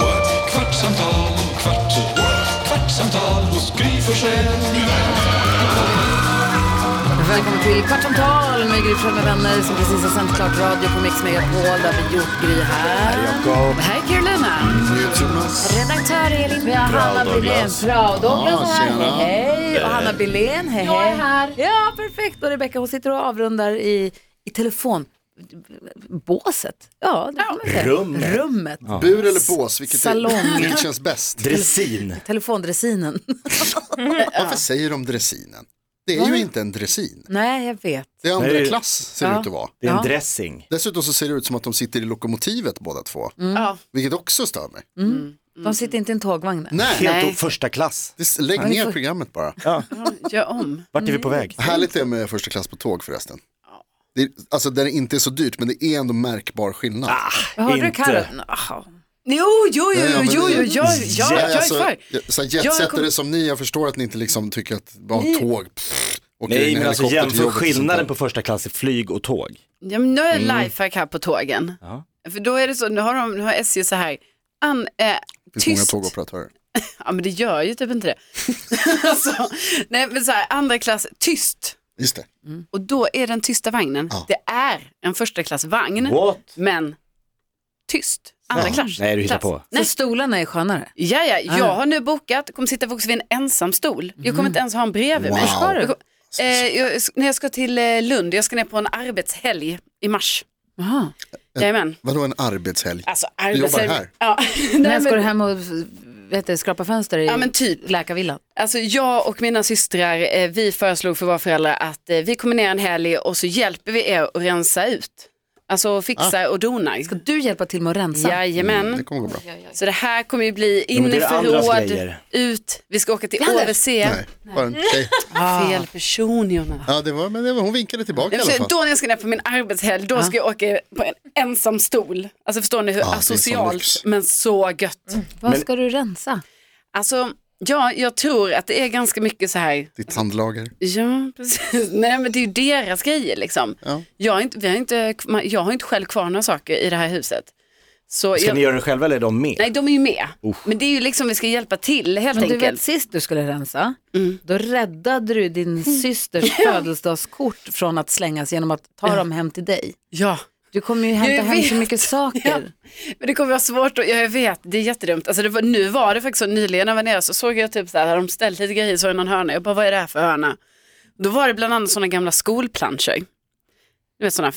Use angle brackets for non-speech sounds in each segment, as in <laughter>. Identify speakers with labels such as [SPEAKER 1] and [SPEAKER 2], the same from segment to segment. [SPEAKER 1] what? kvartsamtal, kvart, what? kvartsamtal hos Gry Forssell med vänner.
[SPEAKER 2] Välkommen till Kvartsamtal med Gry Forssell med vänner som precis har sänt klart radio på Mix Megapol där vi gjort Gry här. Här är Jakob. Här är Carolina. Redaktör Elin. Vi har Hanna Billén. Prao Douglas är här. Hej. Och Hanna Billén. Hej, Jag är här. Ja, perfekt. Och Rebecka hon sitter och avrundar i, i telefon. Båset? Ja, det kan man säga.
[SPEAKER 3] Rummet.
[SPEAKER 2] Rummet.
[SPEAKER 4] Bur eller bås, vilket,
[SPEAKER 2] Salong.
[SPEAKER 4] Är, <laughs> vilket känns bäst?
[SPEAKER 3] Dressin.
[SPEAKER 2] Telefondressinen.
[SPEAKER 4] Varför säger de dressinen? Det är ju inte en dressin.
[SPEAKER 2] <laughs> Nej, jag vet.
[SPEAKER 4] Det är andra
[SPEAKER 3] Nej.
[SPEAKER 4] klass ser
[SPEAKER 2] Ja.
[SPEAKER 4] det ut att vara.
[SPEAKER 3] Det är en
[SPEAKER 2] Ja.
[SPEAKER 3] dressing.
[SPEAKER 4] Dessutom så ser det ut som att de sitter i lokomotivet båda två.
[SPEAKER 5] Ja.
[SPEAKER 4] Vilket också stör mig.
[SPEAKER 2] De sitter inte i en tågvagn. där.
[SPEAKER 4] Nej,
[SPEAKER 3] Helt
[SPEAKER 5] Nej.
[SPEAKER 3] och första klass.
[SPEAKER 4] det s- lägg ner programmet bara.
[SPEAKER 5] Gör om.
[SPEAKER 3] Vart är vi på väg?
[SPEAKER 4] Härligt det är med första klass på tåg förresten. Det är, alltså där det inte är så dyrt men det är ändå märkbar skillnad.
[SPEAKER 3] Ah,
[SPEAKER 2] Vad Hörde du
[SPEAKER 3] Inte.
[SPEAKER 2] Carro? Aha.
[SPEAKER 5] Jo, jo, jo,
[SPEAKER 4] Ja,
[SPEAKER 5] jo,
[SPEAKER 4] men
[SPEAKER 5] jo,
[SPEAKER 4] det-
[SPEAKER 5] jo, jag, jag, jag är för.
[SPEAKER 4] alltså, jag- Så här
[SPEAKER 5] Jag
[SPEAKER 4] jetsetare
[SPEAKER 5] kom-
[SPEAKER 4] som ni, jag förstår att ni inte liksom tycker att bara tåg, pff, åker in i
[SPEAKER 3] Nej, men alltså
[SPEAKER 4] helikopter
[SPEAKER 3] jämför
[SPEAKER 4] till jobbet och sånt där.
[SPEAKER 3] skillnaden på första klass i flyg och tåg.
[SPEAKER 5] Ja, men nu är mm. lifehack här på tågen.
[SPEAKER 3] Ja.
[SPEAKER 5] För då är det så, nu har, de, nu har SJ så här, an, eh,
[SPEAKER 4] Det finns
[SPEAKER 5] tyst.
[SPEAKER 4] många tågoperatörer.
[SPEAKER 5] Ja, men det gör ju typ inte det. <laughs> alltså, nej, men så här, andra klass, tyst.
[SPEAKER 4] Just det.
[SPEAKER 5] Och då är den tysta vagnen,
[SPEAKER 4] Ja.
[SPEAKER 5] det är en första klass vagn,
[SPEAKER 3] What?
[SPEAKER 5] men tyst. Andra klass.
[SPEAKER 3] Nej, du hittar
[SPEAKER 5] klass.
[SPEAKER 3] på.
[SPEAKER 2] Så stolarna är skönare?
[SPEAKER 5] Ja, ja, jag
[SPEAKER 2] Ah.
[SPEAKER 5] har nu bokat, kommer sitta också vid en ensam stol. Jag kommer inte ens ha en bredvid mig.
[SPEAKER 4] Wow. Ska du?
[SPEAKER 5] Jag kom- Eh, jag, när jag ska till eh, Lund, jag ska ner på en arbetshelg i mars.
[SPEAKER 2] Jaha.
[SPEAKER 3] Eh,
[SPEAKER 5] Jajamän.
[SPEAKER 4] Vadå en arbetshelg?
[SPEAKER 5] Alltså
[SPEAKER 4] Du jobbar
[SPEAKER 5] arbetshelg.
[SPEAKER 4] här?
[SPEAKER 5] Ja. <laughs>
[SPEAKER 2] När
[SPEAKER 5] Nej,
[SPEAKER 2] ska du
[SPEAKER 5] men,
[SPEAKER 2] hem och vet du, skrapa fönster i
[SPEAKER 5] ja men typ.
[SPEAKER 2] läkarvillan?
[SPEAKER 5] Alltså jag och mina systrar, eh, vi föreslog för våra föräldrar att eh, vi kommer ner en helg och så hjälper vi er att rensa ut. Alltså
[SPEAKER 3] Ah.
[SPEAKER 5] fixa och dona.
[SPEAKER 2] Ska du hjälpa till med att rensa?
[SPEAKER 5] Jajamän.
[SPEAKER 4] Det kommer gå bra.
[SPEAKER 5] Så det här kommer ju bli
[SPEAKER 3] men
[SPEAKER 5] in
[SPEAKER 3] det
[SPEAKER 5] i
[SPEAKER 3] är andras
[SPEAKER 5] förråd,
[SPEAKER 3] grejer.
[SPEAKER 5] ut, vi ska åka till
[SPEAKER 2] Anders.
[SPEAKER 5] OVC.
[SPEAKER 4] Nej, bara en tjej.
[SPEAKER 5] Fel person Jonas.
[SPEAKER 4] Ja, det var, men det var, hon vinkade tillbaka i alla
[SPEAKER 5] Nej, men
[SPEAKER 4] fall.
[SPEAKER 5] så då när jag ska ner på min arbetshelg, då ska jag åka på en ensam stol. Alltså förstår ni hur
[SPEAKER 4] det är sån
[SPEAKER 5] asocialt,
[SPEAKER 4] lyx.
[SPEAKER 5] men så gött.
[SPEAKER 2] Vad ska du rensa?
[SPEAKER 5] Alltså, ja, jag tror att det är ganska mycket så här,
[SPEAKER 4] Ditt handlager.
[SPEAKER 5] ja, precis. <laughs> Nej, men det är ju deras grejer liksom.
[SPEAKER 4] Ja.
[SPEAKER 5] Jag, är inte, vi har inte, jag har inte själv kvar några saker i det här huset. Så
[SPEAKER 3] Ska
[SPEAKER 5] jag,
[SPEAKER 3] ni göra det själva eller är de med?
[SPEAKER 5] Nej, de är ju med. Men det är ju liksom, vi ska hjälpa till helt
[SPEAKER 2] Men du vet
[SPEAKER 5] enkelt. Mm.
[SPEAKER 2] sist du skulle rensa, då räddade du
[SPEAKER 5] <laughs>
[SPEAKER 2] din systers födelsedagskort från att slängas genom att ta dem hem till dig.
[SPEAKER 5] Ja.
[SPEAKER 2] Du kommer ju hämta
[SPEAKER 5] Jag
[SPEAKER 2] hem så
[SPEAKER 5] vet.
[SPEAKER 2] mycket saker.
[SPEAKER 5] Men det kommer vara svårt att, ja, jag vet, det är jättedumt. Alltså det var, nu var det faktiskt så, nyligen när jag var nere så såg jag typ så här, hade de ställt lite grejer så i någon hörna, jag bara vad är det här för hörna? Då var det bland annat sådana gamla skolplanscher. Du vet sådana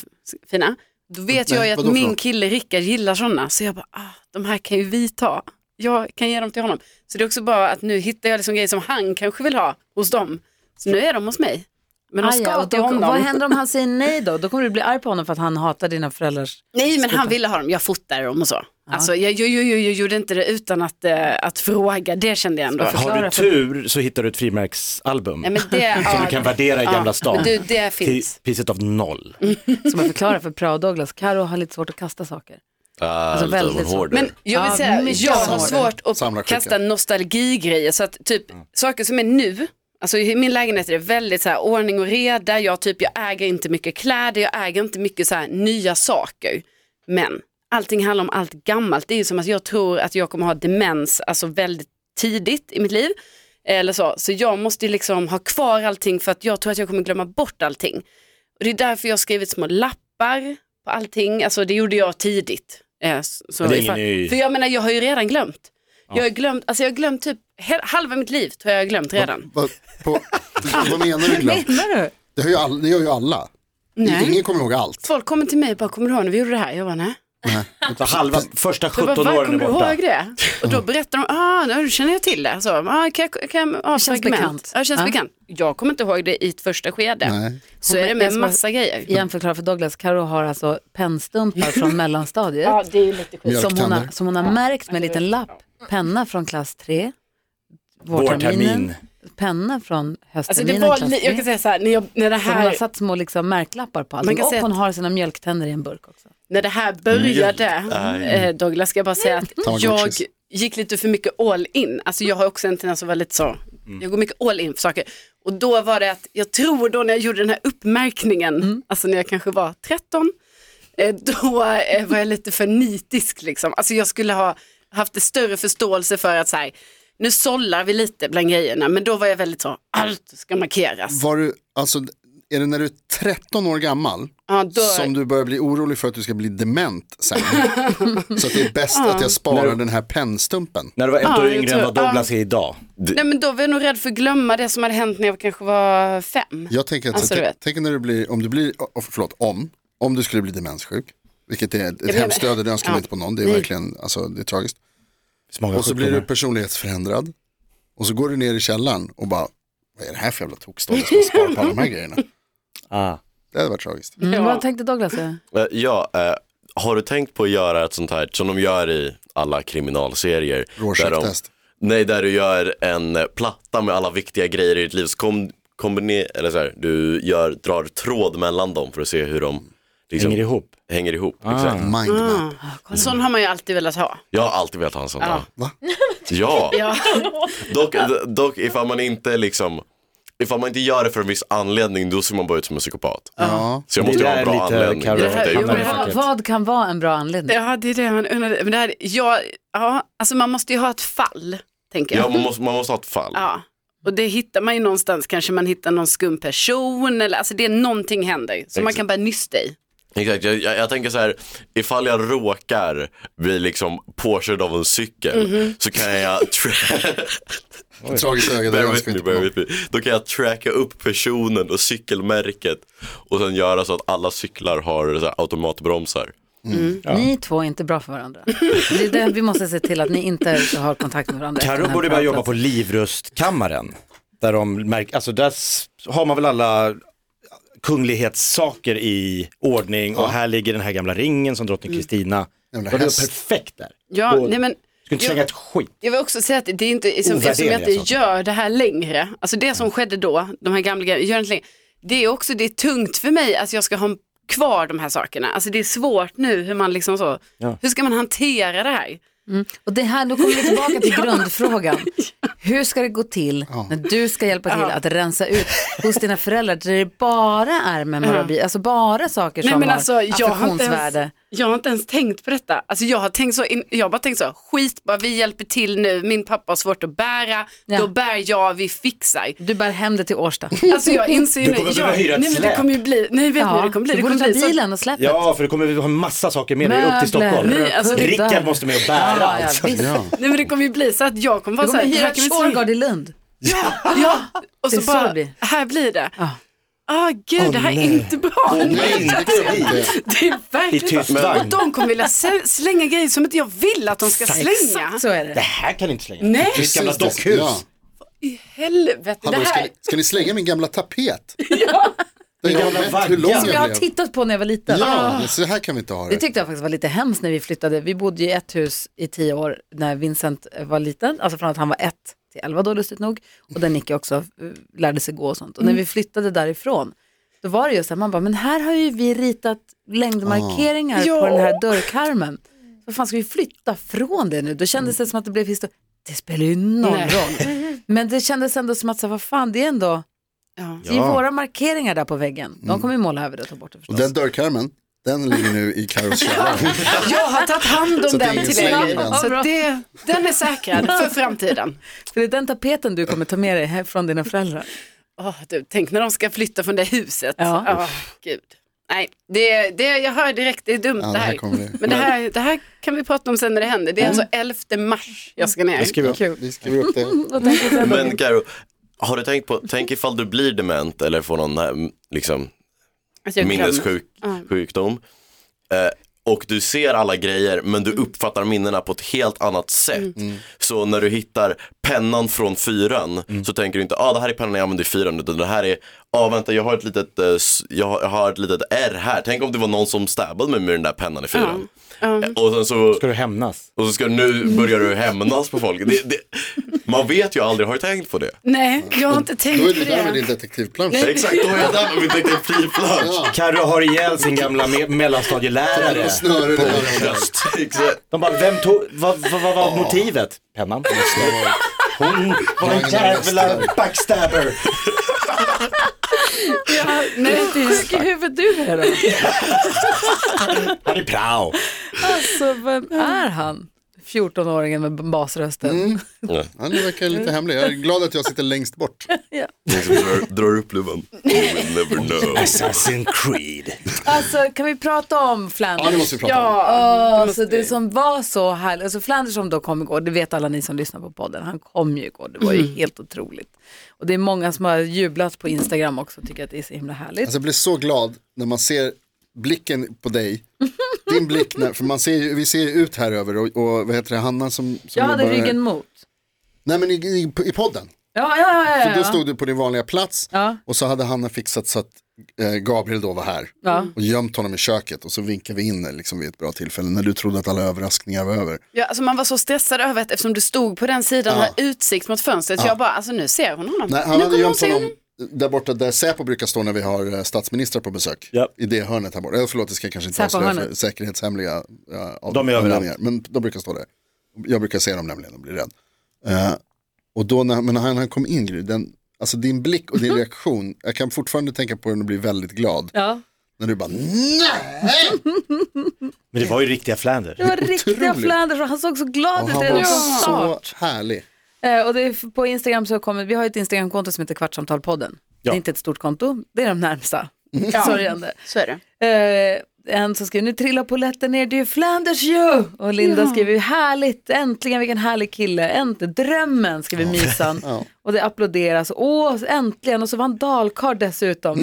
[SPEAKER 5] fina. Då vet
[SPEAKER 4] Nej,
[SPEAKER 5] jag ju att
[SPEAKER 4] vadå för
[SPEAKER 5] min
[SPEAKER 4] något?
[SPEAKER 5] kille Rickard gillar sådana, så jag bara, ah, de här kan ju vi ta. Jag kan ge dem till honom. Så det är också bara att nu hittar jag liksom grejer som han kanske vill ha hos dem. Så nu är de hos mig. Men de
[SPEAKER 2] Aj,
[SPEAKER 5] ska
[SPEAKER 2] Ah, ja, och
[SPEAKER 5] till
[SPEAKER 2] då,
[SPEAKER 5] honom.
[SPEAKER 2] vad händer om han säger nej då? Då kommer du bli arg på honom för att han hatar dina föräldrars...
[SPEAKER 5] Nej, men han ville ha dem. Jag fotade dem och så. Alltså, jag, jag, jag, jag, jag gjorde inte det utan att, eh, att fråga. Det kände jag ändå.
[SPEAKER 3] Har du
[SPEAKER 2] Förklara för-
[SPEAKER 3] tur så hittar du ett frimärksalbum.
[SPEAKER 5] Nej, men det,
[SPEAKER 3] <laughs> Som du kan värdera i
[SPEAKER 5] Ja,
[SPEAKER 3] Gamla stan.
[SPEAKER 5] men du, det
[SPEAKER 3] Till
[SPEAKER 5] finns. Mm.
[SPEAKER 3] priset av noll.
[SPEAKER 2] Som jag förklarar för Prao Douglas, Karo har lite svårt att kasta saker. Alltså väldigt svårt.
[SPEAKER 5] Men jag vill
[SPEAKER 2] Ja,
[SPEAKER 5] säga,
[SPEAKER 2] mycket
[SPEAKER 5] jag har
[SPEAKER 2] svårt.
[SPEAKER 5] svårt att
[SPEAKER 4] Samlar skiten.
[SPEAKER 5] kasta nostalgigrejer. Så att typ
[SPEAKER 3] Mm.
[SPEAKER 5] saker som är nu, alltså i min lägenhet är det väldigt så här ordning och reda. Jag, typ, jag äger inte mycket kläder, jag äger inte mycket så här nya saker. Men allting handlar om allt gammalt. Det är ju som att jag tror att jag kommer ha demens, alltså väldigt tidigt i mitt liv. Eller så. så jag måste ju liksom ha kvar allting för att jag tror att jag kommer glömma bort allting. Och det är därför jag har skrivit små lappar på allting. Alltså det gjorde jag tidigt. Eh, s- Så
[SPEAKER 3] Men det är ingen
[SPEAKER 5] ifall-
[SPEAKER 3] ny-
[SPEAKER 5] För jag menar, jag har ju redan glömt. Jag har glömt, alltså jag har glömt typ he- halva mitt liv tror jag jag har glömt redan.
[SPEAKER 4] Vad,
[SPEAKER 5] <laughs>
[SPEAKER 4] på, vad menar du glömt?
[SPEAKER 2] Menar du?
[SPEAKER 4] Det, har ju all, det gör ju alla.
[SPEAKER 5] Nej.
[SPEAKER 4] Ingen kommer ihåg allt.
[SPEAKER 5] Folk kommer till mig och bara, kommer du ihåg när vi gjorde det här? Jag bara, nej.
[SPEAKER 3] Så halva första
[SPEAKER 5] Så jag
[SPEAKER 3] 17
[SPEAKER 5] bara, va,
[SPEAKER 3] åren är
[SPEAKER 5] kommer du
[SPEAKER 3] borta. Mm.
[SPEAKER 5] ihåg det? Och då berättar de, ah, nu känner jag till det. Så, ah, kan jag, kan jag, ah,
[SPEAKER 2] känns
[SPEAKER 5] fragment.
[SPEAKER 2] bekant.
[SPEAKER 5] Ja, det känns
[SPEAKER 2] Ja.
[SPEAKER 5] bekant. Jag kommer inte ihåg det i ett första skede.
[SPEAKER 4] Nej.
[SPEAKER 5] Så
[SPEAKER 2] Men
[SPEAKER 5] är det
[SPEAKER 2] jag
[SPEAKER 5] med
[SPEAKER 2] ska-
[SPEAKER 5] massa grejer.
[SPEAKER 2] Igen förklara för Douglas, Karo har alltså
[SPEAKER 3] <laughs>
[SPEAKER 2] pennstumpar från mellanstadiet.
[SPEAKER 5] det är lite
[SPEAKER 2] som, hon har,
[SPEAKER 4] Mjölktänder.
[SPEAKER 2] som hon har märkt med en liten lapp. Penna från klass 3.
[SPEAKER 3] Vårtermin.
[SPEAKER 2] Penna från
[SPEAKER 5] Alltså det
[SPEAKER 2] höstterminen
[SPEAKER 5] var,
[SPEAKER 2] klass
[SPEAKER 5] li-
[SPEAKER 2] 3.
[SPEAKER 5] jag kan säga så här, när, jag, när, det
[SPEAKER 2] Så hon har
[SPEAKER 5] här,
[SPEAKER 2] satt små liksom märklappar på
[SPEAKER 5] Man
[SPEAKER 2] allting
[SPEAKER 5] kan
[SPEAKER 2] och
[SPEAKER 5] säga
[SPEAKER 2] hon
[SPEAKER 5] att-
[SPEAKER 2] har sina mjölktänder i en burk också.
[SPEAKER 5] när det här började, eh, Douglas, ska jag bara säga att jag
[SPEAKER 4] Tamagotchis.
[SPEAKER 5] gick lite för mycket all in. Alltså jag har också en tendens att vara lite så, jag går mycket all in för saker. Och då var det att, jag tror då när jag gjorde den här uppmärkningen,
[SPEAKER 2] Mm.
[SPEAKER 5] alltså när jag kanske var 13, eh, då eh, var jag lite för nitisk liksom. Alltså jag skulle ha haft en större förståelse för att så här, nu sållar vi lite bland grejerna, men då var jag väldigt så, allt ska markeras.
[SPEAKER 4] Var du, alltså, är det när du är 13 år gammal
[SPEAKER 5] Ja, då,
[SPEAKER 4] som du börjar bli orolig för att du ska bli dement
[SPEAKER 5] <laughs>
[SPEAKER 4] sen? så att det är bäst att jag sparar den här pennstumpen.
[SPEAKER 3] När du var ett
[SPEAKER 5] Ja,
[SPEAKER 3] år
[SPEAKER 5] jag
[SPEAKER 3] yngre
[SPEAKER 5] tror-
[SPEAKER 3] än vad Douglas är idag. D-
[SPEAKER 5] Nej men då var jag nog rädd för att glömma det som hade hänt när jag kanske var fem.
[SPEAKER 4] Jag tänker att,
[SPEAKER 5] Alltså, du
[SPEAKER 4] så,
[SPEAKER 5] vet.
[SPEAKER 4] tänk när du blir, om du blir, oh, förlåt, om, om du skulle bli demenssjuk, vilket är ett
[SPEAKER 5] men-
[SPEAKER 4] hemskt öde, det önskar
[SPEAKER 5] Ja.
[SPEAKER 4] man inte på någon, det är
[SPEAKER 5] Nej.
[SPEAKER 4] verkligen, alltså det är tragiskt.
[SPEAKER 3] så många
[SPEAKER 4] Och så blir du
[SPEAKER 3] sjukdomar.
[SPEAKER 4] personlighetsförändrad, och så går du ner i källaren och bara, vad är det här för jävla tokstolle som sparar på alla de här
[SPEAKER 5] <laughs>
[SPEAKER 4] grejerna?
[SPEAKER 3] Ah.
[SPEAKER 4] Det hade varit tragiskt.
[SPEAKER 2] Mm,
[SPEAKER 5] Ja.
[SPEAKER 2] Vad tänkte Douglas säga?
[SPEAKER 6] Eh, Ja, eh, har du tänkt på att göra ett sånt här som de gör i alla kriminalserier? Där de,
[SPEAKER 4] Rorschach-test.
[SPEAKER 6] nej, där du gör en eh, platta med alla viktiga grejer i ditt liv. Så kom, kombine, eller så här, du gör, drar tråd mellan dem för att se hur de liksom,
[SPEAKER 3] Hänger ihop.
[SPEAKER 6] hänger ihop, exakt.
[SPEAKER 5] Ah.
[SPEAKER 4] Mindmap.
[SPEAKER 5] Sån har man ju alltid velat ha.
[SPEAKER 6] Jag har alltid velat ha en sån.
[SPEAKER 5] Ja.
[SPEAKER 4] Va?
[SPEAKER 6] ja.
[SPEAKER 5] <laughs> Ja.
[SPEAKER 6] Dock, dock ifall man inte liksom Ifall man inte gör det för en viss anledning då ser man bara ut som en psykopat.
[SPEAKER 4] Ja.
[SPEAKER 6] Så jag
[SPEAKER 3] Det
[SPEAKER 6] måste
[SPEAKER 3] där
[SPEAKER 6] ha en
[SPEAKER 3] är
[SPEAKER 6] bra
[SPEAKER 3] lite
[SPEAKER 6] anledning.
[SPEAKER 3] Carro.
[SPEAKER 6] Jag vet inte, jag
[SPEAKER 5] Jo, men
[SPEAKER 3] i
[SPEAKER 5] det här-
[SPEAKER 3] facket.
[SPEAKER 2] Vad kan vara en bra anledning?
[SPEAKER 5] Ja, det är det man undrar. Men det här, ja, ja, alltså man måste ju ha ett fall, tänker jag.
[SPEAKER 6] Ja, man måste, man måste ha ett fall.
[SPEAKER 5] Ja. Och det hittar man ju någonstans, kanske man hittar någon skum person eller alltså det är någonting händer som man kan börja nysta i.
[SPEAKER 6] Exakt, jag, jag, jag tänker så här, ifall jag råkar bli liksom påkörd av en cykel så kan jag, tra-
[SPEAKER 4] Tragiskt öga, det
[SPEAKER 6] bear
[SPEAKER 4] önskar
[SPEAKER 6] with me,
[SPEAKER 4] vi inte på
[SPEAKER 6] bear
[SPEAKER 4] någon.
[SPEAKER 6] with me. då kan jag tracka upp personen och cykelmärket och sen göra så att alla cyklar har så här, automatbromsar.
[SPEAKER 2] Ni två är inte bra för varandra. Det är det vi måste se till att ni inte har kontakt med varandra. efter den
[SPEAKER 3] Carro
[SPEAKER 2] här
[SPEAKER 3] borde börja jobba på
[SPEAKER 2] pratplatsen.
[SPEAKER 3] Livrustkammaren. Där de märker, alltså där s- har man väl alla kunglighetssaker i ordning och här ligger den här gamla ringen som drottning Kristina.
[SPEAKER 4] Mm. men det
[SPEAKER 3] Det var
[SPEAKER 4] här s-
[SPEAKER 3] perfekt där.
[SPEAKER 5] Ja,
[SPEAKER 3] Och
[SPEAKER 5] nej men
[SPEAKER 3] Skulle inte
[SPEAKER 5] jag-
[SPEAKER 3] slänga ett skit.
[SPEAKER 5] Jag vill också säga att det är inte, eftersom eftersom jag
[SPEAKER 3] Ovärderliga
[SPEAKER 5] inte
[SPEAKER 3] saker.
[SPEAKER 5] gör det här längre, alltså det som skedde då, de här gamla grejerna, jag gör inte längre. Det är också, det är tungt för mig att jag ska ha kvar de här sakerna. Alltså det är svårt nu hur man liksom så, hur ska man hantera det här?
[SPEAKER 2] Och det här, då kommer vi tillbaka
[SPEAKER 5] <laughs>
[SPEAKER 2] till grundfrågan. Hur ska det gå till när du ska hjälpa till att rensa ut hos dina föräldrar där det bara är memorabilia, alltså bara saker som
[SPEAKER 5] Nej men
[SPEAKER 2] har
[SPEAKER 5] alltså jag har, inte ens,
[SPEAKER 2] affektionsvärde?
[SPEAKER 5] jag har inte ens tänkt på detta. Alltså jag har tänkt så, in, jag har bara tänkt så, skit bara vi hjälper till nu, min pappa har svårt att bära,
[SPEAKER 2] Ja.
[SPEAKER 5] då bär jag, vi fixar.
[SPEAKER 2] Du bär hem det till Årsta.
[SPEAKER 5] Alltså jag inser ju
[SPEAKER 3] Du kommer
[SPEAKER 5] nu,
[SPEAKER 3] behöva
[SPEAKER 5] jag,
[SPEAKER 3] hyra ett
[SPEAKER 5] nej men det
[SPEAKER 3] släp.
[SPEAKER 5] kommer ju bli, nej vet ni hur det kommer bli?
[SPEAKER 2] du
[SPEAKER 5] Det
[SPEAKER 2] borde
[SPEAKER 5] kommer
[SPEAKER 2] ta
[SPEAKER 5] bli så-
[SPEAKER 2] bilen och släppet.
[SPEAKER 3] Ja, för du kommer vi ha en massa saker med dig upp till Stockholm.
[SPEAKER 5] Nej, alltså,
[SPEAKER 3] Rickard måste med och bära.
[SPEAKER 2] Ja, ja,
[SPEAKER 3] alltså.
[SPEAKER 2] visst.
[SPEAKER 4] Ja.
[SPEAKER 5] Nej men det kommer ju bli så att jag kommer vara
[SPEAKER 2] Du
[SPEAKER 5] så
[SPEAKER 2] kommer
[SPEAKER 5] här, det
[SPEAKER 2] hyra
[SPEAKER 5] här
[SPEAKER 2] ett
[SPEAKER 5] kan vi inte säga.
[SPEAKER 2] Shurgard i Lund.
[SPEAKER 5] Ja,
[SPEAKER 2] Det
[SPEAKER 5] och så
[SPEAKER 2] är så
[SPEAKER 5] bara,
[SPEAKER 2] det blir.
[SPEAKER 5] här blir det.
[SPEAKER 2] Ja.
[SPEAKER 5] Ah gud, det här är inte bra.
[SPEAKER 4] Nej, det går inte.
[SPEAKER 5] Det är
[SPEAKER 3] I
[SPEAKER 5] verkligen
[SPEAKER 3] tyst
[SPEAKER 5] Och
[SPEAKER 3] vagn.
[SPEAKER 5] de kommer vilja sä- slänga grejer som inte jag vill att de ska slänga.
[SPEAKER 2] Exakt så är
[SPEAKER 3] Det
[SPEAKER 2] det.
[SPEAKER 3] här kan ni inte slänga.
[SPEAKER 5] Nej.
[SPEAKER 3] Ditt gamla
[SPEAKER 4] Precis,
[SPEAKER 3] dockhus.
[SPEAKER 4] ja.
[SPEAKER 5] I helvete,
[SPEAKER 4] Hallå,
[SPEAKER 5] det
[SPEAKER 4] ska,
[SPEAKER 5] här.
[SPEAKER 4] ni, ska ni slänga min
[SPEAKER 2] <laughs>
[SPEAKER 4] gamla tapet? ja.
[SPEAKER 3] Min
[SPEAKER 4] Jag
[SPEAKER 3] gamla
[SPEAKER 4] har mätt
[SPEAKER 3] vagga.
[SPEAKER 4] hur lång
[SPEAKER 3] Som
[SPEAKER 2] Som jag har
[SPEAKER 4] jag blev.
[SPEAKER 2] tittat på när jag var liten.
[SPEAKER 4] Ja, men så här kan vi inte ha
[SPEAKER 2] Det
[SPEAKER 4] det.
[SPEAKER 2] tyckte jag faktiskt var lite hemskt när vi flyttade. Vi bodde i ett hus i tio år när Vincent eh, var liten, alltså från att han var ett till elva då lustigt nog. Och där Nicky också eh, lärde sig gå och sånt. Och
[SPEAKER 5] Mm.
[SPEAKER 2] när vi flyttade därifrån, då var det ju så här, man bara, men här har ju vi ritat längdmarkeringar
[SPEAKER 5] Ah.
[SPEAKER 2] på den här dörrkarmen. Så Vad fan ska vi flytta från det nu? Då kändes det som att det blev historia. Det spelar ju noll
[SPEAKER 5] Nej.
[SPEAKER 2] roll.
[SPEAKER 5] <laughs>
[SPEAKER 2] Men det kändes ändå som att, så här, vad fan, det är ändå,
[SPEAKER 5] Ja. Mm.
[SPEAKER 2] det är våra markeringar där på väggen. De kommer ju måla över det och ta bort det
[SPEAKER 4] Och
[SPEAKER 2] förstås.
[SPEAKER 4] den dörrkarmen, den ligger nu i Carros källare.
[SPEAKER 5] Jag har tagit hand om
[SPEAKER 4] Så det är
[SPEAKER 5] den
[SPEAKER 4] ingen
[SPEAKER 5] till
[SPEAKER 4] släng i
[SPEAKER 5] dig.
[SPEAKER 4] den.
[SPEAKER 5] Så det, den är säkrad för framtiden.
[SPEAKER 2] För det är den tapeten du kommer ta med dig hem från dina föräldrar.
[SPEAKER 5] Åh, du, tänk när de ska flytta från det huset.
[SPEAKER 2] Ja.
[SPEAKER 5] Åh, gud. Nej, det, det, jag hör direkt, det är dumt
[SPEAKER 4] Ja,
[SPEAKER 5] det
[SPEAKER 4] det
[SPEAKER 5] här.
[SPEAKER 4] här kommer bli-
[SPEAKER 5] Men det här, det här kan vi prata om sen när det händer. Det är alltså 11 mars jag ska ner.
[SPEAKER 3] skriver upp.
[SPEAKER 4] Vi skriver upp
[SPEAKER 2] Mm.
[SPEAKER 4] det.
[SPEAKER 6] Men Karo, har du tänkt på, tänk ifall du blir dement eller får någon eh, liksom,
[SPEAKER 5] Att Alltså, jag glömmer.
[SPEAKER 6] minnessjuk
[SPEAKER 5] Ja.
[SPEAKER 6] sjukdom. Eh, och du ser alla grejer men
[SPEAKER 5] Mm.
[SPEAKER 6] du uppfattar minnena på ett helt annat sätt. Så när du hittar pennan från fyran
[SPEAKER 5] Mm.
[SPEAKER 6] så tänker du inte, ah det här är pennan jag använde i fyran utan det här är, ah vänta jag har ett litet, eh, s- jag har- jag har ett litet R här, tänk om det var någon som stabbade mig med den där pennan i fyran. Eh, Och sen så
[SPEAKER 3] Ska du hämnas?
[SPEAKER 6] och så ska nu börjar du hämnas alltså, på folk. Det, det, man vet ju aldrig, har du tänkt på det?
[SPEAKER 5] Nej, jag har inte tänkt
[SPEAKER 4] Då
[SPEAKER 5] på
[SPEAKER 4] är det där med
[SPEAKER 5] det.
[SPEAKER 4] din detektivplan.
[SPEAKER 6] Exakt, då är jag där med min detektivplan.
[SPEAKER 3] Carro har ihjäl sin gamla me- mellanstadielärare.
[SPEAKER 4] Snöre det här.
[SPEAKER 6] Just, exakt.
[SPEAKER 3] De bara, vem tog, vad, vad, vad var motivet? Pennan. Hon var en jävla backstabber.
[SPEAKER 2] Nej, det är sjuk i huvudet du är då.
[SPEAKER 3] Han är prao.
[SPEAKER 2] Alltså, vem är han? 14-åringen med basrösten.
[SPEAKER 4] Mm. Ja, ni verkar
[SPEAKER 2] Mm.
[SPEAKER 4] lite hemliga. Jag är glad att jag sitter längst bort.
[SPEAKER 6] Någon som drar, drar upp luvan. You will never
[SPEAKER 4] Mm.
[SPEAKER 6] know.
[SPEAKER 3] Assassin's Creed.
[SPEAKER 2] Alltså kan vi prata om
[SPEAKER 4] Ja, det
[SPEAKER 2] Flanders?
[SPEAKER 4] måste vi prata om.
[SPEAKER 2] alltså, det som var så härligt, alltså Flanders som då kom igår, det vet alla ni som lyssnar på podden, han kom ju igår, det var ju helt otroligt. Och det är många som har jublat på Instagram också och tycker att det är så himla härligt.
[SPEAKER 4] Alltså, jag blir så glad när man ser blicken på dig. Din blick, när, för man ser, ju- vi ser ju ut här över och, och vad heter det, Hanna som, som
[SPEAKER 2] jag hade
[SPEAKER 4] jobbar-
[SPEAKER 2] ryggen mot.
[SPEAKER 4] Nej men i, i, i podden.
[SPEAKER 2] Ja, ja, ja.
[SPEAKER 4] För
[SPEAKER 2] ja,
[SPEAKER 4] då
[SPEAKER 2] ja.
[SPEAKER 4] stod du på din vanliga plats
[SPEAKER 2] Ja.
[SPEAKER 4] och så hade Hanna fixat så att eh, Gabriel då var här
[SPEAKER 2] Ja.
[SPEAKER 4] och gömt honom i köket och så vinkade vi in liksom, vid ett bra tillfälle när du trodde att alla överraskningar var över.
[SPEAKER 5] Ja, alltså man var så stressad över att eftersom du stod på den sidan och har utsikt mot fönstret. Så jag bara, alltså nu ser hon honom.
[SPEAKER 4] Nej,
[SPEAKER 5] nu
[SPEAKER 4] han hade
[SPEAKER 5] kommer hon
[SPEAKER 4] gömt
[SPEAKER 5] se
[SPEAKER 4] honom där borta där Säpo brukar stå när vi har eh, statsministrar på besök.
[SPEAKER 3] Ja.
[SPEAKER 4] I det hörnet här borta. Eller förlåt, det ska jag kanske inte avslöja
[SPEAKER 2] Säpo-hörnet.
[SPEAKER 4] för säkerhetshemliga eh, av-
[SPEAKER 3] De är överallt.
[SPEAKER 4] anledningar. Men de brukar stå där. Jag brukar se dem nämligen och blir rädd. Eh, och då när, men när han, han kom in, Gry, den, alltså din blick
[SPEAKER 5] <laughs>
[SPEAKER 4] och din reaktion, jag kan fortfarande tänka på den och bli väldigt glad.
[SPEAKER 2] ja.
[SPEAKER 4] När du bara nej!
[SPEAKER 3] Men det var ju riktiga Flanders.
[SPEAKER 2] Det var riktiga
[SPEAKER 4] Otroligt.
[SPEAKER 2] Flanders och han såg så glad
[SPEAKER 4] Och
[SPEAKER 2] ut
[SPEAKER 4] han
[SPEAKER 2] redan
[SPEAKER 4] var
[SPEAKER 2] från
[SPEAKER 4] så
[SPEAKER 2] start.
[SPEAKER 4] härlig.
[SPEAKER 2] Eh, och det är på Instagram så kommer, vi har ju ett Instagramkonto som heter Kvartsamtalpodden. Det är inte ett stort konto, det är de närmsta. Sörjande.
[SPEAKER 5] Så är det.
[SPEAKER 2] Eh, en som skriver, nu trillar polletten ner, det är ju Flanders ju! Och Linda skriver, härligt, äntligen vilken härlig kille, äntligen, drömmen skriver Mysan. Och det applåderas, åh äntligen, och så var han dalkarl dessutom.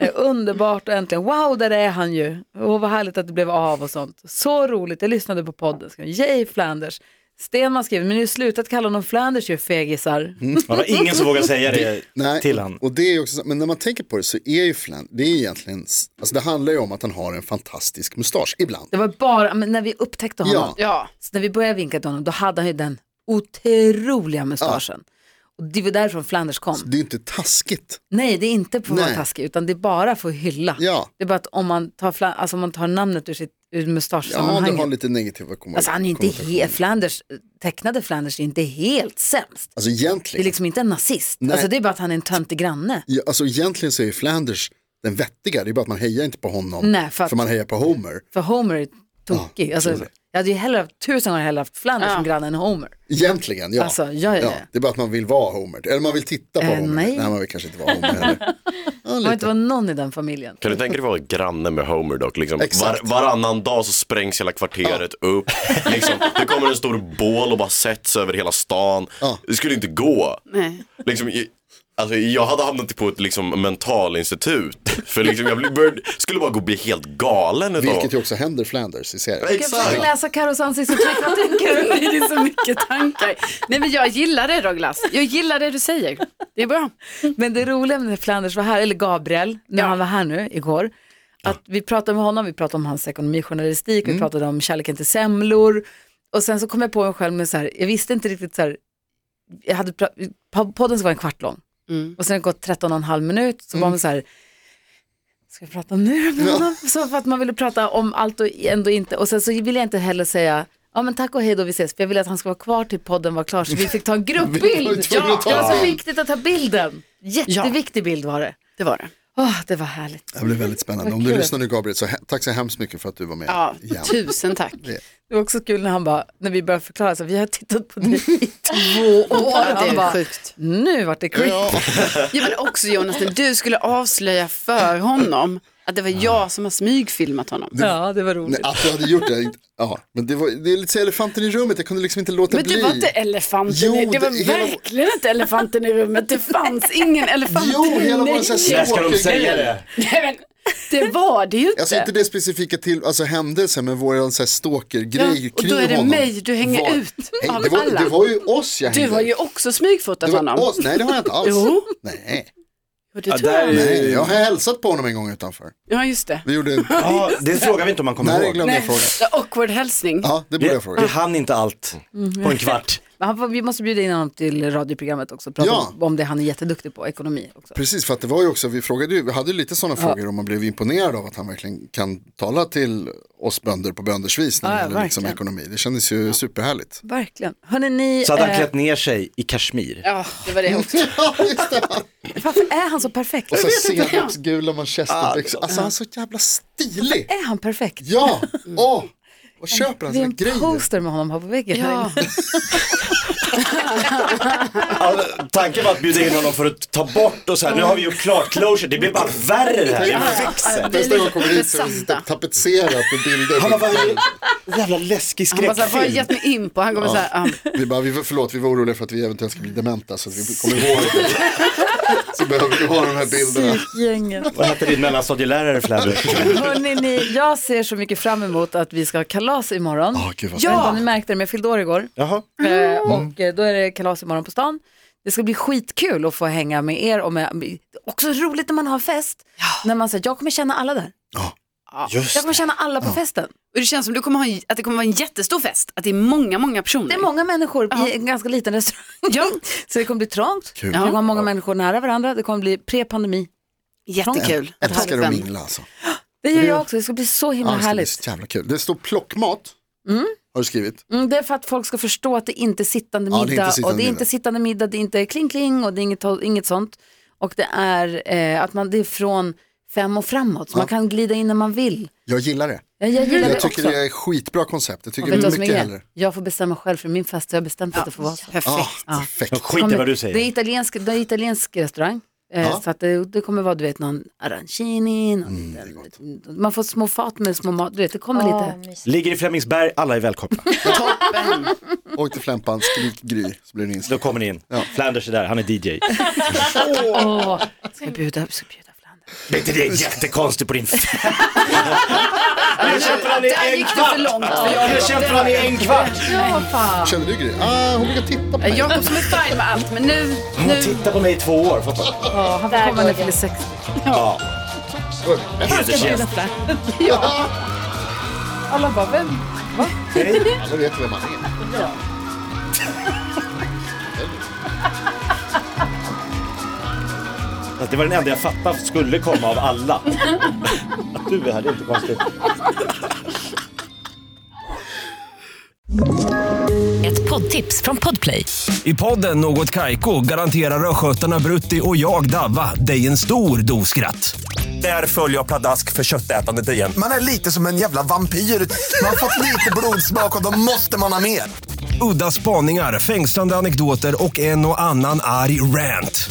[SPEAKER 2] Eh, underbart och äntligen, wow där är han ju. Och vad härligt att det blev av och sånt. Så roligt, jag lyssnade på podden, skriver, yay Flanders. Stenman skriver, men nu slutat kalla honom Flanders ju fegisar.
[SPEAKER 3] Det var ingen som vågade säga det
[SPEAKER 4] Nej,
[SPEAKER 3] till
[SPEAKER 4] och-
[SPEAKER 3] han.
[SPEAKER 4] Och det är ju också, så- men när man tänker på det så är ju Flan, det är ju egentligen, s- alltså det handlar ju om att han har en fantastisk mustasch ibland.
[SPEAKER 2] Det var bara, men när vi upptäckte honom,
[SPEAKER 4] Ja.
[SPEAKER 5] Ja,
[SPEAKER 2] Så när vi började vinka till honom då hade han ju den otroliga mustaschen. Och det var därifrån Flanders kom.
[SPEAKER 4] Det är ju inte taskigt.
[SPEAKER 2] Nej, det är inte på att vara
[SPEAKER 4] Nej.
[SPEAKER 2] taskig utan det är bara för att hylla.
[SPEAKER 4] Ja.
[SPEAKER 2] Det är bara att om man tar, Fla- alltså, om man tar namnet ur, sitt, ur
[SPEAKER 4] Ja, det
[SPEAKER 2] mustaschsammanhanget.
[SPEAKER 4] har lite negativa kom-
[SPEAKER 2] Alltså han är ju inte
[SPEAKER 4] konnotationer.
[SPEAKER 2] helt, Flanders, tecknade Flanders är inte helt sämst.
[SPEAKER 4] Alltså
[SPEAKER 2] Det är
[SPEAKER 4] egentligen,
[SPEAKER 2] liksom inte en nazist.
[SPEAKER 4] Nej.
[SPEAKER 2] Alltså det är bara att han är en töntig granne.
[SPEAKER 4] ja, alltså egentligen så är ju Flanders den vettiga, det är bara att man hejar inte på honom.
[SPEAKER 2] Nej, för att-
[SPEAKER 4] för man hejar på Homer.
[SPEAKER 2] För Homer är tokig. Alltså, jag hade ju hellre haft, tusen gånger hellre haft Flanders som granne än Homer.
[SPEAKER 4] Egentligen, ja.
[SPEAKER 2] Alltså, ja, ja, ja.
[SPEAKER 4] Det är bara att man vill vara Homer, eller man vill titta på
[SPEAKER 2] Eh,
[SPEAKER 4] Homer.
[SPEAKER 2] nej.
[SPEAKER 4] man vill kanske inte vara Homer heller. Ja,
[SPEAKER 2] Det var inte
[SPEAKER 4] lite.
[SPEAKER 2] vara någon i den familjen.
[SPEAKER 6] Kan du tänka dig vara granne med Homer dock? Liksom, var,
[SPEAKER 4] Exakt.
[SPEAKER 6] varannan dag så sprängs hela kvarteret upp. Liksom, det kommer en stor bål och bara sätts över hela stan.
[SPEAKER 4] Ja.
[SPEAKER 6] Det skulle inte gå.
[SPEAKER 5] nej.
[SPEAKER 6] Liksom, jag, alltså, jag hade hamnat på ett liksom, mentalinstitut. För liksom, jag blev- började, skulle bara gå och bli helt galen utav
[SPEAKER 4] Vilket ju också händer Flanders i serien.
[SPEAKER 6] Ja,
[SPEAKER 2] Jag försöker
[SPEAKER 6] Exakt.
[SPEAKER 2] läsa Carros ansiktsuttryck, vad tänker du?
[SPEAKER 5] <laughs> Det är så mycket tankar. Nej men jag gillar det Douglas. Jag gillar det du säger. Det är bra.
[SPEAKER 2] Men det roliga när Flanders var här, eller Gabriel, när
[SPEAKER 5] Ja.
[SPEAKER 2] han var här nu igår, att vi pratade med honom, vi pratade om hans ekonomijournalistik, vi pratade om kärleken till semlor och sen så kom jag på mig själv med så här, jag visste inte riktigt så här, jag hade, pra- po- podden ska vara en kvart lång och sen har det gått 13 och en halv minut så var man så här, ska vi prata om nu med honom? Så för att man ville prata om allt och ändå inte och sen så ville jag inte heller säga Ja men tack och hej då, vi ses. För jag ville att han ska vara kvar till podden var klar så <laughs> vi fick ta en
[SPEAKER 4] var ju
[SPEAKER 2] gruppbild.
[SPEAKER 4] tvungna
[SPEAKER 2] Ja,
[SPEAKER 4] att ta
[SPEAKER 2] det var så
[SPEAKER 4] den.
[SPEAKER 2] viktigt att ta bilden. Jätteviktig bild var det.
[SPEAKER 5] Det var det.
[SPEAKER 2] Åh, det var härligt.
[SPEAKER 4] Det blir väldigt spännande. Om du lyssnar nu Gabriel, så he- tack så hemskt mycket för att du var med.
[SPEAKER 5] Ja,
[SPEAKER 4] igen.
[SPEAKER 5] tusen tack.
[SPEAKER 2] Det var också kul när han bara, när vi började förklara, så här, vi har tittat på <laughs> dig i två år.
[SPEAKER 5] Ja, det
[SPEAKER 2] han
[SPEAKER 5] är
[SPEAKER 2] bara,
[SPEAKER 5] sjukt.
[SPEAKER 2] nu vart det creepy.
[SPEAKER 4] Ja.
[SPEAKER 5] Ja, men också Jonas, när du skulle avslöja för honom att det var jag som har smygfilmat honom.
[SPEAKER 2] <laughs> Ja, det var roligt.
[SPEAKER 4] Nej, att du hade gjort det, ja. Men det, var, det är lite så elefanten i rummet, jag kunde liksom inte låta
[SPEAKER 5] Men
[SPEAKER 4] bli.
[SPEAKER 5] det var inte elefanten,
[SPEAKER 4] Jo,
[SPEAKER 5] i- det var
[SPEAKER 4] det- hela-
[SPEAKER 5] verkligen inte elefanten i rummet. Det fanns ingen elefant
[SPEAKER 4] Jo, hela
[SPEAKER 5] i
[SPEAKER 4] vår så här
[SPEAKER 3] När ska de
[SPEAKER 4] snorkel-
[SPEAKER 3] säga det?
[SPEAKER 5] Nej, men, Det var det ju inte.
[SPEAKER 4] Alltså inte det specifika till, alltså händelsen men våran så här stalker-grej
[SPEAKER 5] Ja,
[SPEAKER 4] ja,
[SPEAKER 5] och då
[SPEAKER 4] kring
[SPEAKER 5] är det
[SPEAKER 4] honom.
[SPEAKER 5] mig du hänger
[SPEAKER 4] var,
[SPEAKER 5] ut
[SPEAKER 4] nej,
[SPEAKER 5] av
[SPEAKER 4] det var,
[SPEAKER 5] alla.
[SPEAKER 4] Det var ju oss jag
[SPEAKER 5] Du
[SPEAKER 4] hängde
[SPEAKER 5] har ju
[SPEAKER 4] ut.
[SPEAKER 5] också smygfotat
[SPEAKER 4] det
[SPEAKER 5] honom.
[SPEAKER 4] var oss. Nej det har jag inte alls.
[SPEAKER 5] <laughs> Jo.
[SPEAKER 4] Nej.
[SPEAKER 5] Och det
[SPEAKER 3] Ja,
[SPEAKER 5] tror
[SPEAKER 3] där är-
[SPEAKER 5] jag.
[SPEAKER 4] nej, jag har hälsat på honom en gång utanför.
[SPEAKER 5] Ja, just det.
[SPEAKER 4] Vi
[SPEAKER 5] <laughs>
[SPEAKER 4] gjorde en,
[SPEAKER 3] Ja, det frågar vi inte om man kommer
[SPEAKER 4] nej
[SPEAKER 3] ihåg.
[SPEAKER 4] glömde jag fråga.
[SPEAKER 5] The awkward hälsning.
[SPEAKER 4] Ja det borde
[SPEAKER 3] Vi,
[SPEAKER 4] jag
[SPEAKER 3] vi
[SPEAKER 4] fråga.
[SPEAKER 3] hann inte allt på en kvart.
[SPEAKER 2] Men han får- Vi måste bjuda in honom till radioprogrammet också och prata
[SPEAKER 4] Ja.
[SPEAKER 2] om det han är jätteduktig på, ekonomi också.
[SPEAKER 4] Precis för att det var ju också, vi frågade ju, vi hade ju lite sådana frågor om man blev imponerad av att han verkligen kan tala till oss bönder på bönders vis när
[SPEAKER 2] Ja,
[SPEAKER 4] det
[SPEAKER 2] ja,
[SPEAKER 4] gäller liksom
[SPEAKER 2] verkligen.
[SPEAKER 4] ekonomi. Det kändes ju superhärligt.
[SPEAKER 2] Verkligen. Hörrni, ni,
[SPEAKER 3] Så hade han
[SPEAKER 2] eh,
[SPEAKER 3] klätt ner sig i Kashmir.
[SPEAKER 5] Ja, det var det också.
[SPEAKER 4] <laughs> Ja, just det.
[SPEAKER 2] varför är han så perfekt?
[SPEAKER 4] Och så
[SPEAKER 2] inte.
[SPEAKER 4] senapsgula manchesterbyxor. Alltså han är så jävla stilig.
[SPEAKER 2] Är han perfekt?
[SPEAKER 4] Ja, åh. Och köper han
[SPEAKER 2] Det är
[SPEAKER 4] sina
[SPEAKER 2] en
[SPEAKER 4] grejer.
[SPEAKER 2] poster med honom här på väggen. här
[SPEAKER 5] Ja.
[SPEAKER 2] inne.
[SPEAKER 3] Ja, tanken var att bjuda in honom för att ta bort och så här, nu har vi gjort klart closure, det blir bara värre det här, det växer.
[SPEAKER 4] Nästa gång kommer dit så är
[SPEAKER 5] Besatta.
[SPEAKER 4] det tapetserat med bilder.
[SPEAKER 3] Han bara, vad är det? jävla läskig
[SPEAKER 5] Han bara, så här, vad har jag
[SPEAKER 3] skräckfilm.
[SPEAKER 5] gett mig in på? Han kommer så här, um,
[SPEAKER 4] Vi bara, vi, var- förlåt, vi var oroliga för att vi eventuellt ska bli dementa så att vi kommer ihåg det. Så behöver vi ha de här bilderna.
[SPEAKER 2] Psykgänget.
[SPEAKER 3] Vad hette din mellanstadielärare Flabber?
[SPEAKER 2] Hörrni, ni, jag ser så mycket fram emot att vi ska ha kalas imorgon.
[SPEAKER 4] Åh, Ah,
[SPEAKER 2] jag
[SPEAKER 4] gud vad
[SPEAKER 2] vet inte
[SPEAKER 4] spännande. Mm.
[SPEAKER 2] om ni märkte det, men jag fyllde år igår.
[SPEAKER 3] Jaha.
[SPEAKER 2] Eh, Och eh, då är det kalas imorgon på stan. Det ska bli skitkul att få hänga med er och med, också roligt när man har fest. När man säger, jag kommer känna alla där. Jag
[SPEAKER 3] Just
[SPEAKER 2] kommer känna alla på festen.
[SPEAKER 5] och det känns som du kommer ha en, att det kommer vara en jättestor fest. Att det är många, många personer.
[SPEAKER 2] Det är många människor i en ganska liten restaurang.
[SPEAKER 5] Ja.
[SPEAKER 2] <laughs> Så det kommer bli trångt.
[SPEAKER 4] Kul.
[SPEAKER 2] Det kommer vara många människor nära varandra. Det kommer bli pre-pandemi.
[SPEAKER 5] Jättekul.
[SPEAKER 4] Älskar att
[SPEAKER 5] Toppen.
[SPEAKER 4] mingla alltså.
[SPEAKER 2] Det gör jag också. Det ska bli så himla
[SPEAKER 4] Ja, det ska bli
[SPEAKER 2] härligt.
[SPEAKER 4] så jävla kul. Det står plockmat. Har du skrivit?
[SPEAKER 2] Mm, det är för att folk ska förstå att det inte är sittande
[SPEAKER 4] Ja,
[SPEAKER 2] middag.
[SPEAKER 4] det är inte sittande
[SPEAKER 2] och det är inte
[SPEAKER 4] middag.
[SPEAKER 2] sittande middag, det är inte kling kling och det är inget, inget sånt. Och det är eh, att man, det är från fem och framåt, så man kan glida in när man vill.
[SPEAKER 4] Jag gillar det.
[SPEAKER 2] Jag, jag gillar
[SPEAKER 4] Jag
[SPEAKER 2] det också.
[SPEAKER 4] tycker det är ett skitbra koncept. Jag
[SPEAKER 2] Och
[SPEAKER 4] tycker
[SPEAKER 2] vet du
[SPEAKER 4] det
[SPEAKER 2] vad
[SPEAKER 4] är
[SPEAKER 2] som är
[SPEAKER 4] mycket
[SPEAKER 2] grejen?
[SPEAKER 4] hellre.
[SPEAKER 2] Jag får bestämma själv för min fasta, jag har bestämt att det får vara så.
[SPEAKER 4] Ah,
[SPEAKER 5] Perfekt.
[SPEAKER 4] perfekt.
[SPEAKER 3] Jag skiter i vad du säger.
[SPEAKER 2] Det är italiensk, det är italiensk restaurang. Eh,
[SPEAKER 4] Ja. Mm,
[SPEAKER 2] Så att det, det kommer vara du vet, någon arancini, någon, liten- man får små fat med små mat, du vet, det kommer lite.
[SPEAKER 3] Ligger i Flemingsberg, alla är välkomna.
[SPEAKER 4] Åk till Flämpan, skrik Gry, så blir det
[SPEAKER 3] Då
[SPEAKER 4] inställt.
[SPEAKER 3] kommer ni in. Flanders är där, han
[SPEAKER 5] <laughs>
[SPEAKER 3] är DJ.
[SPEAKER 2] Åh, ska jag bjuda, ska jag bjuda Flandern?
[SPEAKER 3] Det är inte det jättekonstigt på din
[SPEAKER 5] <laughs>
[SPEAKER 3] fest? Nu kämpar han i en kvart! Nu kämpar han i en kvart!
[SPEAKER 2] Ja, fan.
[SPEAKER 4] Känner du Gry? Ah, hon brukar titta på mig.
[SPEAKER 5] Jakob som är fine med allt, men nu,
[SPEAKER 3] Han har tittat på mig i två år. fattar du?
[SPEAKER 2] Ja, han får komma när jag fyller 60.
[SPEAKER 3] Hedersgäst.
[SPEAKER 4] <laughs>
[SPEAKER 2] Alla bara, vem?
[SPEAKER 4] Alla Alltså, vet vem han är.
[SPEAKER 3] Fast Det var den enda jag fattade skulle komma av
[SPEAKER 5] <laughs>
[SPEAKER 3] alla. Att du är här, det är inte konstigt.
[SPEAKER 7] Ett poddtips från Podplay.
[SPEAKER 8] I podden Något Kaiko garanterar östgötarna Brutti och jag, Davva, dig en stor dos skratt. Där följer jag pladask för köttätandet igen.
[SPEAKER 9] Man är lite som en jävla vampyr. Man har fått lite blodsmak och då måste man ha mer.
[SPEAKER 8] Udda spaningar, fängslande anekdoter och en och annan arg rant.